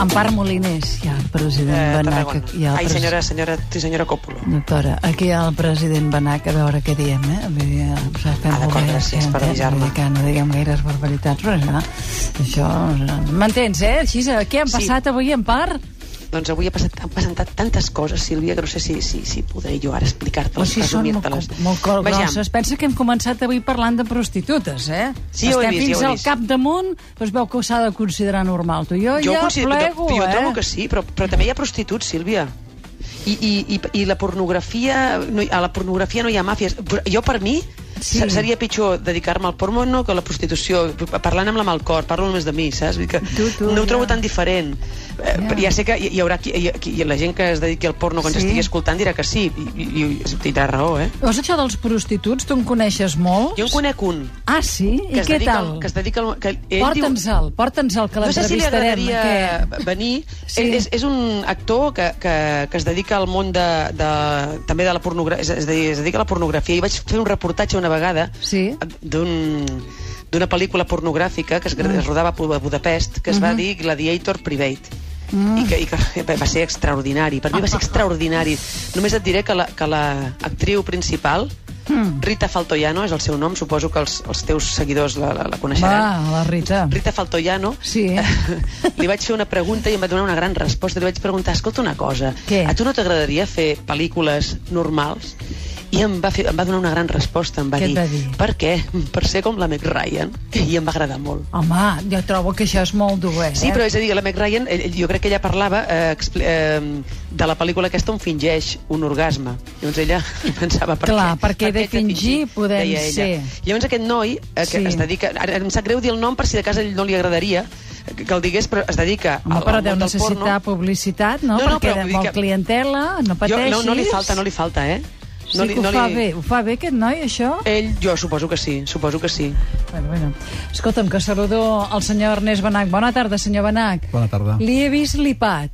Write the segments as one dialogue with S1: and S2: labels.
S1: Gaspar Molinés, hi ha el president
S2: Eh,
S1: Benac.
S2: Tarragona.
S1: hi ha el
S2: Ai,
S1: pres-
S2: senyora, senyora, sí, senyora Còpolo.
S1: Doctora, aquí hi ha el president Benac, a veure què diem, eh? Vull dir, eh, o sigui, fem
S2: Ah, d'acord,
S1: obres,
S2: gràcies
S1: fem
S2: per
S1: bé,
S2: avisar-me.
S1: vull dir Que no diguem gaires barbaritats, però ja, això... eh, M'entens, eh? Així, eh, què han
S2: Sí.
S1: passat avui en part?
S2: Doncs avui ha passat, han presentat tantes coses, Sílvia, que no sé si, si, si podré jo ara explicar-te-les.
S1: O sigui, són molt,
S2: resumir-te-les.
S1: molt cor-
S2: Vejam,
S1: grosses. Pensa que hem començat avui parlant de prostitutes, eh?
S2: Sí, ho he
S1: Estem
S2: vist, ja
S1: fins
S2: ho he
S1: al
S2: vist.
S1: capdamunt, però es veu que ho s'ha de considerar normal. Tu, jo,
S2: ho
S1: ja
S2: considero-
S1: plego,
S2: jo,
S1: eh?
S2: trobo que sí, però, però també hi ha prostituts, Sílvia. I, i, i, i la pornografia, no, hi- a la pornografia no hi ha màfies. Però Jo, per mi,
S1: Sí.
S2: se- seria pitjor dedicar-me al porno no, que a la prostitució. Parlant amb la Malcor, parlo només de mi, saps? Vull dir Que
S1: Tu, tu,
S2: no ho trobo
S1: ja.
S2: tan diferent. Eh,
S1: Ja.
S2: Ja. ja sé que hi, hi haurà qui, hi, qui, la gent que es dediqui al porno quan
S1: Sí.
S2: s'estigui escoltant dirà que sí, i, i, i tindrà raó, eh?
S1: Veus això dels prostituts? Tu en coneixes molts?
S2: Jo en conec un.
S1: Ah, sí? I
S2: es
S1: què
S2: dedica
S1: tal?
S2: Al, que es dedica al, que ell diu,
S1: Porta'ns-el, porta'ns-el, que
S2: no sé si li
S1: l'entrevistarem.
S2: agradaria
S1: que-
S2: venir.
S1: Sí.
S2: Sí. És, és un actor que, que, que es dedica al món de, de, també de la pornografia, és, és a dir, es dedica a la pornografia. I vaig fer un reportatge una vegada
S1: Sí.
S2: d'un d'una pel·lícula pornogràfica que es,
S1: Mm.
S2: gra- es rodava a Budapest, que es
S1: Mm-hmm.
S2: va dir Gladiator Private.
S1: Mm.
S2: I, que, i que va ser extraordinari. Per mi va ser extraordinari. Només et diré que la, que la actriu principal,
S1: Mm.
S2: Rita Faltoiano, és el seu nom, suposo que els, els teus seguidors la, la, la coneixeran.
S1: Va, la Rita.
S2: Rita Faltoiano,
S1: Sí.
S2: li vaig fer una pregunta i em va donar una gran resposta. Li vaig preguntar, escolta una cosa,
S1: Què?
S2: a tu no t'agradaria fer pel·lícules normals? I em va, fer, em va donar una gran resposta, em va
S1: Què et
S2: dir,
S1: va dir?
S2: per què? Per ser com la Meg Ryan. I em va agradar molt.
S1: Home, jo trobo que això és molt dur, eh?
S2: Sí, però és a dir, la Meg Ryan, eh, jo crec que ella parlava eh, expli- eh, de la pel·lícula aquesta on fingeix un orgasme. Llavors ella pensava... Per
S1: Clar,
S2: què,
S1: perquè de
S2: haig
S1: fingir podem
S2: deia ella.
S1: ser.
S2: Llavors aquest noi, eh, que
S1: Sí.
S2: sí. es dedica... Ara, em sap greu dir el nom per si de cas a ell no li agradaria eh, que el digués, però es dedica
S1: Home,
S2: al,
S1: però
S2: al
S1: deu
S2: món del
S1: necessitar
S2: porno.
S1: publicitat, no?
S2: No, no,
S1: perquè
S2: però vull dir
S1: vol
S2: que-
S1: clientela, no pateixis.
S2: no, no li falta, no li falta, eh? No
S1: sí
S2: li,
S1: que ho
S2: no
S1: fa
S2: li... Eh.
S1: bé, ho fa bé aquest noi, això?
S2: Ell, jo suposo que sí, suposo que sí.
S1: Bueno, bueno. Escolta'm, que saludo al senyor Ernest Benac. Bona tarda, senyor Benac.
S3: Bona tarda.
S1: Li he vist lipat.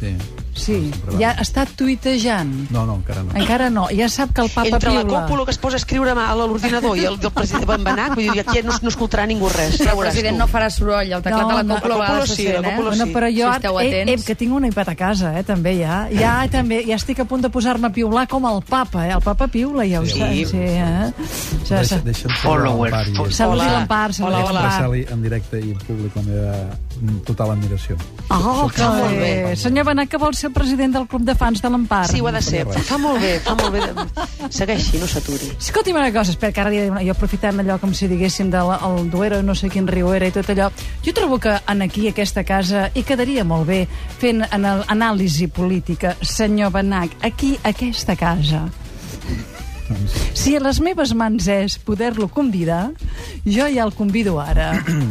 S3: Sí.
S1: Sí,
S3: sempre
S1: ja
S3: Ah, va.
S1: està tuitejant.
S3: No, no, encara no.
S1: Encara no. Ja sap que el papa
S2: Entre la
S1: piula.
S2: còpula que es posa a escriure a l'ordinador i el, el president Van Benac, vull dir, aquí no, no escoltarà ningú res. Ja
S4: Però el
S2: veuràs
S4: president
S2: tu.
S4: no farà soroll, el teclat
S1: No,
S4: no, de la
S1: no,
S4: còpula
S2: la
S4: a vegades
S2: còpula
S4: se
S2: sí, la
S4: sent, eh?
S2: còpula
S1: Bueno,
S2: sí.
S1: però jo
S4: Si
S1: ara-
S4: esteu
S1: eh, eh,
S4: atents. Ah.
S1: que tinc una iPad a casa, eh, també ja. Ja, també, ja estic a punt de posar-me a piular com el papa, eh? El papa piula, ja ho
S3: Sí,
S1: saps,
S2: sí,
S1: sí, eh? Ja,
S3: Deixa,
S1: sa-
S3: deixa'm saludar
S5: Followers.
S3: l'Empar i-
S5: Hola.
S1: Saludi l'Empar,
S2: Hola,
S1: saludi
S2: hola.
S1: l'Empar.
S3: expressar-li en directe i en públic la meva mm, total admiració.
S1: Oh, que
S2: molt
S1: bé.
S2: bé.
S1: Senyor Benac, que vol ser president del Club de Fans de l'Empar.
S2: Sí, ho ha de ser.
S3: No faria res.
S2: Fa molt bé, fa molt bé. de- Segueixi, no s'aturi.
S1: Escolti'm una cosa, espera, que ara li diré una... Jo aprofitant allò com si diguéssim del el Duero, no sé quin riu era i tot allò, jo trobo que en aquí, aquesta casa, hi quedaria molt bé fent en el, anàlisi política, senyor Benac, aquí, aquesta casa.
S3: Doncs,
S1: Si a les meves mans és poder-lo convidar, jo ja el convido ara.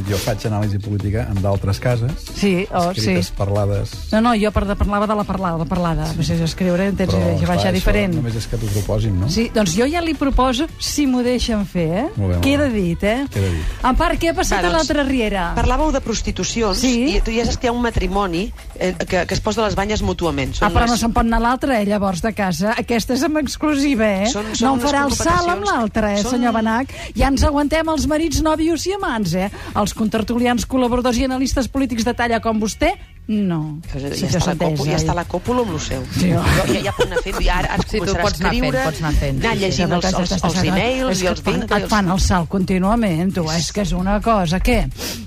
S3: jo faig anàlisi política en d'altres cases,
S1: Sí, oh, sí.
S3: escrites, parlades...
S1: No, no, jo per de parlava de la parlada, la parlada. Sí. No sé si escriure, tens idea, ja
S3: esclar,
S1: va ser
S3: això
S1: diferent.
S3: Només és que t'ho proposin, no?
S1: Sí, doncs jo ja li proposo si m'ho deixen fer, eh?
S3: Molt bé, molt
S1: Queda
S3: bé.
S1: dit, eh?
S3: Queda dit.
S1: En part, què ha passat
S2: Va,
S1: a
S2: doncs,
S1: l'altra riera?
S2: Parlàveu de prostitucions
S1: Sí.
S2: i tu ja saps que hi ha un matrimoni eh, que, que es posa les banyes mútuament.
S1: Ah, però no
S2: les-
S1: se'n pot anar l'altra, eh, llavors, de casa. Aquesta és amb exclusiva, eh?
S2: Són-
S1: no
S2: són
S1: en farà el
S2: unes
S1: salt amb
S2: contratacions.
S1: l'altra, eh,
S2: Són-
S1: senyor Benac? Ja ens aguantem els marits, nòvios i amants, eh? Els contertulians, col·laboradors i analistes polítics de talla com vostè, no.
S2: Ja, ja,
S1: Sí, això
S2: està la
S1: s'entès,
S2: còpula, ja
S1: eh?
S2: està la còpula amb lo seu.
S1: Sí.
S2: Jo, ja, ja pot anar fent, ja ara, ara
S4: Sí, tu
S2: començarà
S4: pots
S2: a
S4: anar fent,
S2: escriure,
S4: pots anar fent.
S2: anar
S4: Sí, sí.
S2: llegint els,
S1: T'estàs-
S2: els,
S1: t'estàs-
S2: els
S1: és
S2: e-mails
S1: que
S2: i
S1: et
S2: els
S1: fan-
S2: vinca.
S1: Et fan el salt contínuament, tu, eh? és que és una cosa. Què?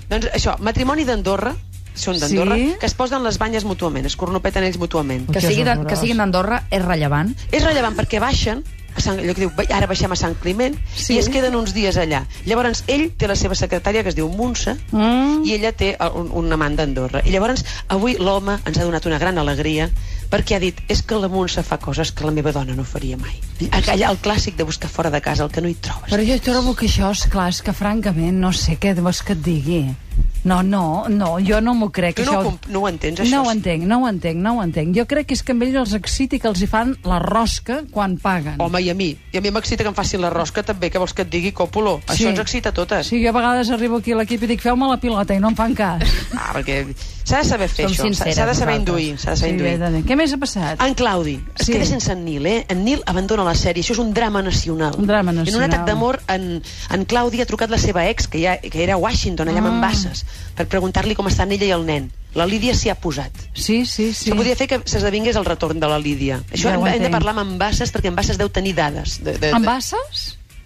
S2: Doncs això, matrimoni d'Andorra, són d'Andorra,
S1: Sí.
S2: que es posen les banyes mútuament, es cornopeten ells mútuament.
S1: Que
S4: Que, sigui de,
S1: horrorós.
S4: que siguin d'Andorra és rellevant.
S2: És rellevant perquè baixen a Sant, allò que diu, "Ba- ara baixem a Sant Climent
S1: Sí.
S2: sí. i es queden uns dies allà. Llavors, ell té la seva secretària, que es diu Montse,
S1: Mm.
S2: i ella té el- un, un amant d'Andorra. I llavors, avui l'home ens ha donat una gran alegria perquè ha dit, és que la Montse fa coses que la meva dona no faria mai. Allà, el clàssic de buscar fora de casa, el que no hi trobes.
S1: Però jo trobo que això, és clar, és que francament no sé què vols que et digui. No, no, no, jo no m'ho crec.
S2: Tu no
S1: això...
S2: ho comp- no ho entens, Doncs això?
S1: No ho entenc, no ho entenc, no ho entenc. Jo crec que és que amb ells els exciti que els hi fan la rosca quan paguen.
S2: Home, i a mi? I a mi m'excita que em facin la rosca també, que vols que et digui, Còpolo?
S1: Sí.
S2: Això ens excita a totes.
S1: Sí, jo a vegades arribo aquí a l'equip i dic feu-me la pilota i no em fan cas.
S2: Ah, perquè s'ha de saber fer
S4: Som
S2: això, s'ha- s'ha de
S4: sinceres,
S2: saber
S4: nosaltres.
S2: induir, s'ha de saber
S1: bé,
S2: induir.
S1: Dani. Què més ha passat?
S2: En Claudi.
S1: Sí.
S2: Es sí. queda sense en Nil, eh? En Nil abandona la sèrie. Això és un drama nacional.
S1: Un drama nacional.
S2: En un atac d'amor, en, en Claudi ha trucat la seva ex, que, ja, que era a Washington, allà amb
S1: Ah.
S2: Embasses. per preguntar-li com estan ella i el nen. La Lídia s'hi ha posat.
S1: Sí, sí, sí.
S2: Això podria fer que s'esdevingués el retorn de la Lídia. Això
S1: Ja ho
S2: hem, hem de
S1: entenc.
S2: parlar amb en Basses, perquè en Basses deu tenir dades. De, de,
S1: Amb
S2: de...
S1: basses?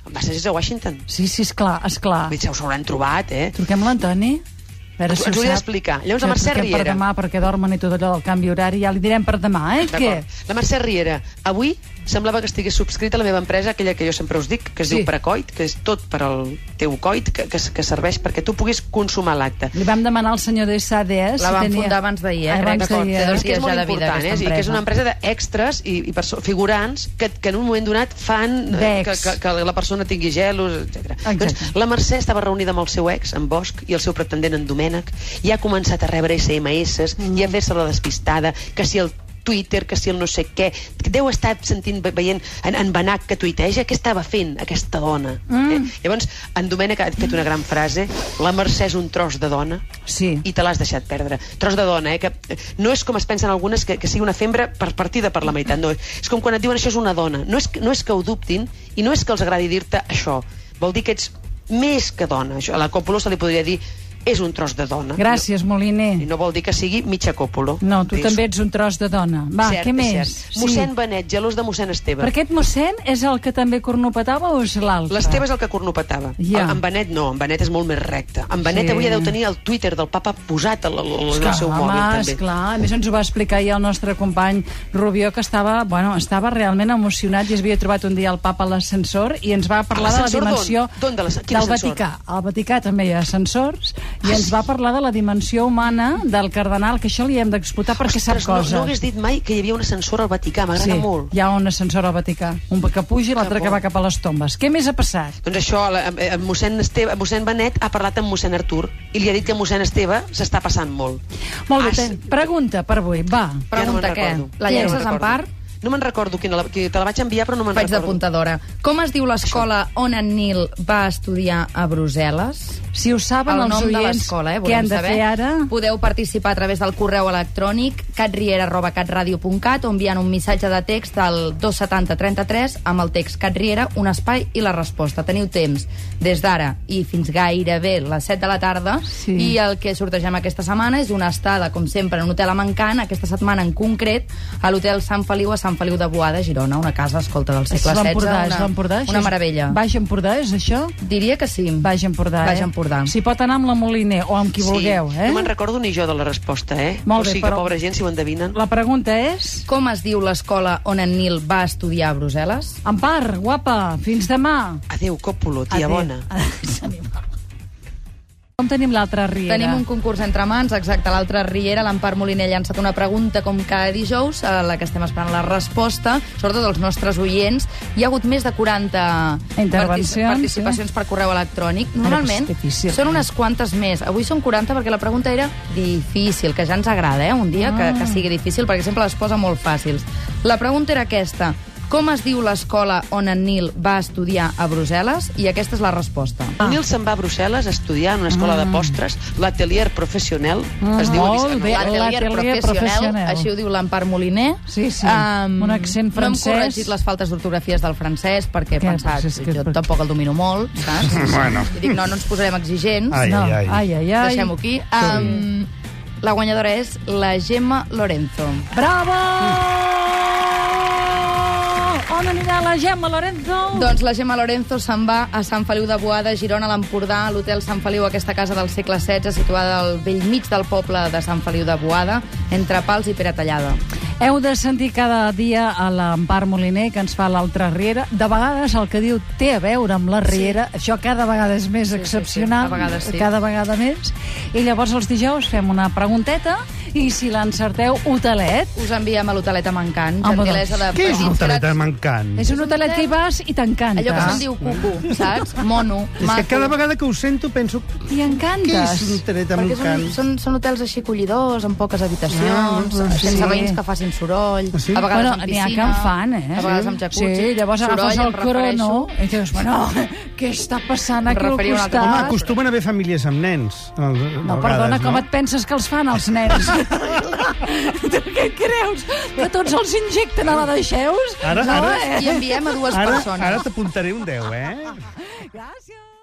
S2: En Basses és a Washington.
S1: Sí, sí, esclar, esclar.
S2: Vull dir, se us hauran trobat, eh?
S1: Truquem l'Antoni. A veure
S2: Ens-
S1: si ho
S2: ens ho hauria
S1: sap.
S2: d'explicar. Llavors, la
S1: Ja
S2: Mercè
S1: truquem
S2: Riera.
S1: Per demà, perquè dormen i tot allò del canvi horari, ja li direm per demà, eh? Què?
S2: D'acord. La Mercè Riera, avui semblava que estigués subscrita a la meva empresa, aquella que jo sempre us dic, que es
S1: Sí.
S2: sí. diu Precoit, que és tot per al teu coit, que, que, que serveix perquè tu puguis consumar l'acte.
S1: Li vam demanar al senyor de SAD, eh?
S4: La van fundar abans d'ahir, eh, crec,
S1: Abans
S4: d'acord.
S1: d'ahir,
S4: Té
S1: eh?
S4: dos
S2: és que és
S4: dies
S2: molt
S4: ja de vida,
S2: important, eh?
S4: aquesta
S2: Sí, que és una
S4: empresa.
S2: empresa d'extres i, i perso- figurants que, que en un moment donat fan eh, que,
S1: D'ex.
S2: que, que la persona tingui gelos, etc.
S1: Exacte.
S2: Doncs, la Mercè estava reunida amb el seu ex, en Bosch, i el seu pretendent, en Domènec, i ha començat a rebre SMS mm. i a fer-se la despistada, que si el Twitter, que si el no sé què... que Deu estar sentint, ve- veient en, en Benac que tuiteja eh? què estava fent aquesta dona. Mm. Eh? Llavors, en Domènec ha fet una gran frase, la Mercè és un tros de dona,
S1: eh. Sí.
S2: i te l'has deixat perdre. Tros de dona, eh? Que eh, no és com es pensen algunes que, que sigui una fembra per partida per la meitat, no. És com quan et diuen això és una dona. No és, que- no és que ho dubtin i no és que els agradi dir-te això. Vol dir que ets més que dona. Això, a la Còpolo se li podria dir és un tros de dona.
S1: Gràcies, Moliner.
S2: I no vol dir que sigui mitja Còpolo.
S1: No, tu
S2: Dius,
S1: també ets un tros de dona. Va,
S2: cert,
S1: què
S2: és
S1: més?
S2: Cert. Sí. Mossèn Benet, gelós de mossèn Esteve.
S1: Per aquest mossèn és el que també cornopetava o és l'altre?
S2: L'Esteve és el que cornopetava.
S1: Ja.
S2: El- En Benet no, en Benet és molt més recte. En Benet
S1: Sí.
S2: sí. avui ja deu tenir el Twitter del papa posat al, al, al, al seu
S1: home,
S2: mòbil, també.
S1: Esclar. A més, ens ho va explicar ahir el nostre company Rubió, que estava, bueno, estava realment emocionat i es havia trobat un dia el papa a l'ascensor i ens va parlar de la
S2: l'ascensor d'on?
S1: dimensió
S2: D'on de l'as- quin
S1: del
S2: ascensor? Ah,
S1: Vaticà. Al Vaticà també hi ha ascensors i ens va parlar de la dimensió humana del cardenal, que això li hem d'explotar perquè sap
S2: Ostres,
S1: coses.
S2: No, no hagués dit mai que hi havia un ascensor al Vaticà, m'agrada
S1: sí,
S2: molt.
S1: hi ha un ascensor al Vaticà, un que puja i l'altre que
S2: bo.
S1: va cap a les tombes. Què més ha passat?
S2: Doncs això, la- eh, el mossèn, Esteve, el mossèn Benet ha parlat amb mossèn Artur i li ha dit que mossèn Esteve s'està passant molt.
S1: Molt bé,
S2: Ah,
S1: ten-
S2: sí.
S1: pregunta per avui, va.
S4: Pregunta
S2: me'n
S4: què?
S2: recordo.
S4: La
S2: Ja no me'n
S4: llences en
S2: recordo.
S4: part?
S2: No me'n recordo, quina la, que te la vaig enviar, però no me'n
S4: Faig
S2: recordo.
S4: d'apuntadora. Com es diu l'escola on en Nil va estudiar a Brussel·les?
S1: Si ho saben
S4: el
S1: els
S4: nom de
S1: oients,
S4: l'escola, eh?
S1: què han
S4: volem
S1: de
S4: saber.
S1: fer ara?
S4: Podeu participar a través del correu electrònic catriera.catradio.cat o enviant un missatge de text al 27033 amb el text catriera, un espai i la resposta. Teniu temps des d'ara i fins gairebé les 7 de la tarda
S1: Sí.
S4: i el que sortegem aquesta setmana és una estada, com sempre, en un hotel a Mancant, aquesta setmana en concret, a l'hotel Sant Feliu a Sant Feliu de Boada, Girona, una casa, escolta, del segle
S1: És
S4: XVI,
S1: l'Empordà, és l'Empordà,
S4: una,
S1: això
S4: una
S1: és-
S4: meravella.
S1: Baix Empordà, és això?
S4: Diria que sí.
S1: Baix Empordà,
S4: Baix
S1: eh?
S4: Empordà.
S1: Si pot anar amb la Moliner o amb qui vulgueu, eh?
S2: No me'n recordo ni jo de la resposta, eh?
S1: Molt bé,
S2: o sigui
S1: però-
S2: que, pobra gent, si ho endevinen...
S1: La pregunta és...
S4: Com es diu l'escola on en Nil va estudiar a Brussel·les?
S1: Ampar, guapa, fins demà.
S2: Adéu, Còpolo, tia
S1: Adéu.
S2: bona.
S1: Com tenim l'altra riera?
S4: Tenim un concurs entre mans, exacte, l'altra Riera, l'Empar Moliner, ha llançat una pregunta com cada dijous, a la que estem esperant la resposta, sobretot els nostres oients. Hi ha hagut més de 40
S1: Intervencions,
S4: partici- participacions per correu electrònic. Normalment
S1: però és difícil,
S4: són
S1: eh?
S4: unes quantes més. Avui són 40 perquè la pregunta era difícil, que ja ens agrada, eh? un dia que,
S1: Ah.
S4: que sigui difícil, perquè sempre les posa molt fàcils. La pregunta era aquesta. Com es diu l'escola on en Nil va estudiar a Brussel·les? I aquesta és la resposta.
S2: Ah. Nil se'n va a Brussel·les a estudiar en una escola mm. de postres, l'atelier professional, mm. es diu...
S1: Molt
S2: aquí-
S1: bé.
S2: Ah, no,
S4: L'atelier
S1: l'atelier
S4: professional,
S1: professional.
S4: professional, així ho diu l'Empar Moliner.
S1: Sí, sí, un accent francès.
S4: No hem corregit les faltes d'ortografies del francès perquè he
S1: Què?
S4: pensat,
S1: Pues és que-
S4: jo tampoc el domino molt, saps?
S5: Bueno.
S4: I dic, no, no ens posarem exigents,
S5: Ai,
S1: no.
S5: ai, ai.
S1: ai, ai, ai.
S4: deixem-ho aquí. Um, la guanyadora és la Gemma Lorenzo.
S1: Bravo! On anirà la Gemma Lorenzo?
S4: Doncs la Gemma Lorenzo se'n va a Sant Feliu de Boada, Girona, a l'Empordà, a l'hotel Sant Feliu, aquesta casa del segle XVI, situada al vell mig del poble de Sant Feliu de Boada, entre Pals i Peratallada.
S1: Heu de sentir cada dia a l'Empar Moliner, que ens fa l'altra riera. De vegades el que diu té a veure amb la riera. Sí. Això cada vegada és més
S4: Sí, sí,
S1: excepcional.
S4: sí, cada vegada sí.
S1: Cada vegada més. I llavors els dijous fem una pregunteta i si l'encerteu, hotelet.
S4: Us enviem a l'hotelet a Mancant,
S1: Ah, bueno.
S4: gentilesa de
S5: Què és
S4: petits
S5: l'hotelet de
S4: grats-
S5: Mancant?
S1: És un hotelet que hi vas i t'encanta.
S4: Allò que se'n diu cucu, saps? Mono,
S5: És que
S4: maco.
S5: cada vegada que ho sento penso...
S1: T'hi
S5: Què és
S1: encantes.
S5: l'hotelet de
S4: Perquè són,
S5: Mancant?
S4: són, són hotels així collidors, amb poques habitacions,
S1: Ah,
S4: ah, sense
S1: sí.
S4: veïns que facin soroll,
S5: Ah, sí?
S4: a vegades
S1: bueno,
S4: amb
S1: n'hi ha
S4: piscina,
S1: que en fan, eh?
S4: a vegades amb jacuzzi.
S1: Sí, llavors agafes
S4: Soroll,
S1: el
S4: em refereixo-
S1: crono i dius, bueno, què està passant aquí al
S4: Em referia a un altre
S1: costat?
S4: Ah,
S5: Home, acostumen a haver famílies amb nens. No,
S1: No, perdona, com et penses que els fan els nens? tu què creus? Que tots els injecten a la deixeus?
S5: Ara-
S1: no, eh?
S5: ara-
S4: I enviem a dues
S5: Ara,
S4: persones.
S5: ara t'apuntaré un 10, eh?
S1: eh? Gràcies.